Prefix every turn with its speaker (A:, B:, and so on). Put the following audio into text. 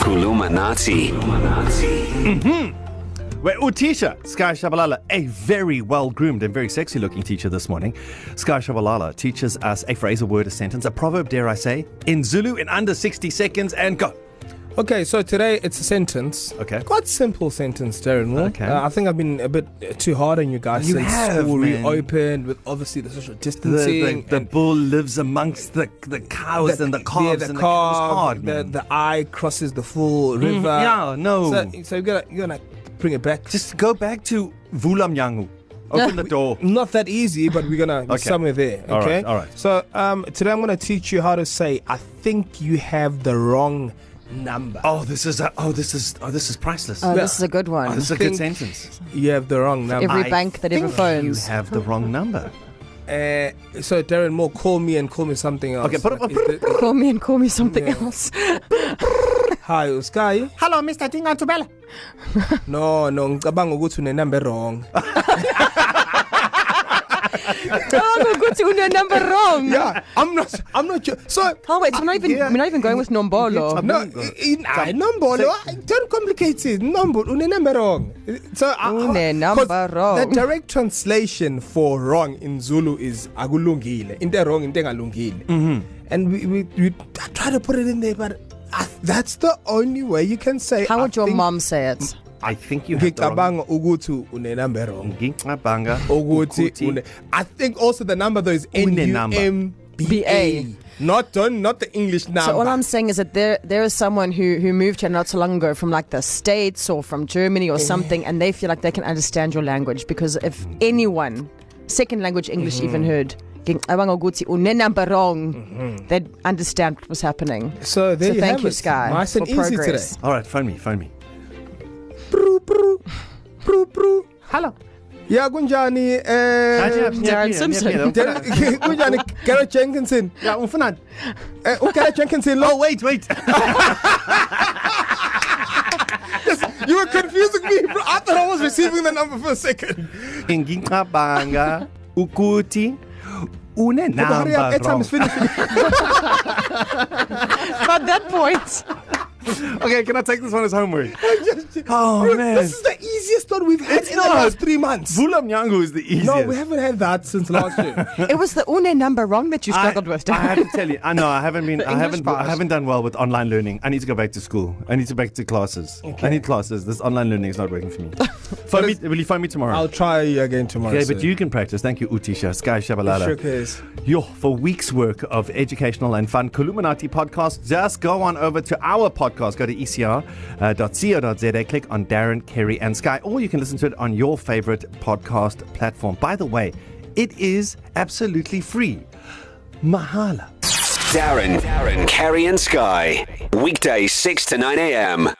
A: Kulumanati.
B: Where Utisha Sky Shabalala, a very well groomed and very sexy looking teacher this morning, Sky Shabalala teaches us a phrase, a word, a sentence, a proverb, dare I say, in Zulu in under 60 seconds and go.
C: Okay, so today it's a sentence.
B: Okay.
C: Quite simple sentence, Darren. Will.
B: Okay.
C: Uh, I think I've been a bit uh, too hard on you guys
B: You
C: since
B: have,
C: school
B: man.
C: reopened with obviously the social
B: The,
C: distancing.
B: the, the
C: and
B: bull lives amongst the, the cows and the calves
C: yeah,
B: and the
C: calf,
B: cows hard,
C: the,
B: man. Mm,
C: the eye crosses the full river.
B: yeah, no.
C: So, so you're gonna you're gonna bring it back.
B: Just go back to Vulamnyangu. Open the door.
C: not that easy, but we're gonna be
B: Okay.
C: somewhere there. Okay.
B: All right, all right.
C: So um, today I'm gonna teach you how to say I think you have the wrong number.
B: Oh, this is a, oh, this is oh, this is priceless.
D: Oh,
B: Oh,
D: this is a good one.
B: this is a
C: think-
B: good sentence.
C: You have the wrong number.
D: Every bank that ever
B: think
D: phones.
B: You have the wrong number.
C: Uh, so Darren Moore, call me and call me something else.
B: Okay, put up a-
C: Is the-
D: Call me and call me something
C: Yeah.
D: else.
C: Hi, oh, Sky.
B: Hello, Mr. Dingantubella.
C: No, no, ngicabanga ukuthi une number wrong.
D: oh, good to know number wrong.
C: yeah, I'm not. I'm not sure. So
D: Oh wait, so we're not even
B: Yeah.
D: we're not even going with
C: no,
D: Nombolo.
B: Number.
C: I number. Don't complicate it. Number une number wrong. So I- I-
D: Une number
C: 'cause
D: wrong.
C: The direct translation for wrong in Zulu is akulungile. Into wrong, into engalungile.
B: Mm-hmm.
C: And we, we we try to put it in there, but I, that's the only way you can say.
D: How
C: I
D: would your
C: think
D: mom say it?
B: I think you have the wrong.
C: Ngicabanga ukuthi une number wrong.
B: Ngicabanga
C: ukuthi
B: ukuthi-
C: une I think also the number though is N
B: Une
C: U
B: number.
C: M B A.
D: BA.
C: Not don't not the English number.
D: So all I'm saying is that there there is someone who who moved here not so long ago from like the states or from Germany or something, and they feel like they can understand your language because if anyone second language English
B: Mm-hmm.
D: even heard. "Ngicabanga ukuthi une number wrong,"
B: Mm-hmm.
D: They'd understand what was happening.
C: so there
D: so
C: you
D: thank
C: have
D: you,
C: it.
D: Sky.
C: Nice and
D: for
C: easy
D: progress.
C: today.
B: All right, phone me, phone me.
C: Pru pru pru pru. Hello. Yeah, kunjani eh
D: Darren Simpson.
C: Darren- kunjani Gareth Jenkinson.
B: Yeah, umfunani.
C: Eh u Gareth Jenkinson
B: Oh,
C: lo.
B: wait, wait.
C: You were confusing me. Bro. I thought I was receiving the number for a second.
B: Ngicabanga ukuthi ah, une
C: But hurry up,
B: number
C: airtime
B: wrong.
C: is finishing.
D: At that point,
B: Okay, can I take this one as homework? oh, man.
C: This is the easiest one we've had
B: It's
C: in the
B: not.
C: last 3 months.
B: Vulamnyangu is the easiest.
C: No, we haven't had that since last year.
D: it was the une number wrong that you struggled with.
B: I have to tell you, I know I haven't been, I
D: English
B: haven't, I
D: part.
B: haven't done well with online learning. I need to go back to school. I need to back to classes. I need classes. This online learning is not working for me. phone me will you phone me tomorrow?
C: I'll try again tomorrow.
B: okay,
C: sir.
B: but you can practice. Thank you, Utisha Sky Shabalala.
C: Sure is.
B: Yo, for weeks' work of educational and fun Kuluminati podcast, just go on over to our podcast. Go to E ecr.co.za, click on Darren, Kerry, and Sky, or you can listen to it on your favorite podcast platform. By the way, it is absolutely free. Mahala.
A: Darren, Darren, Kerry and Sky. Weekdays 6 to 9 a.m.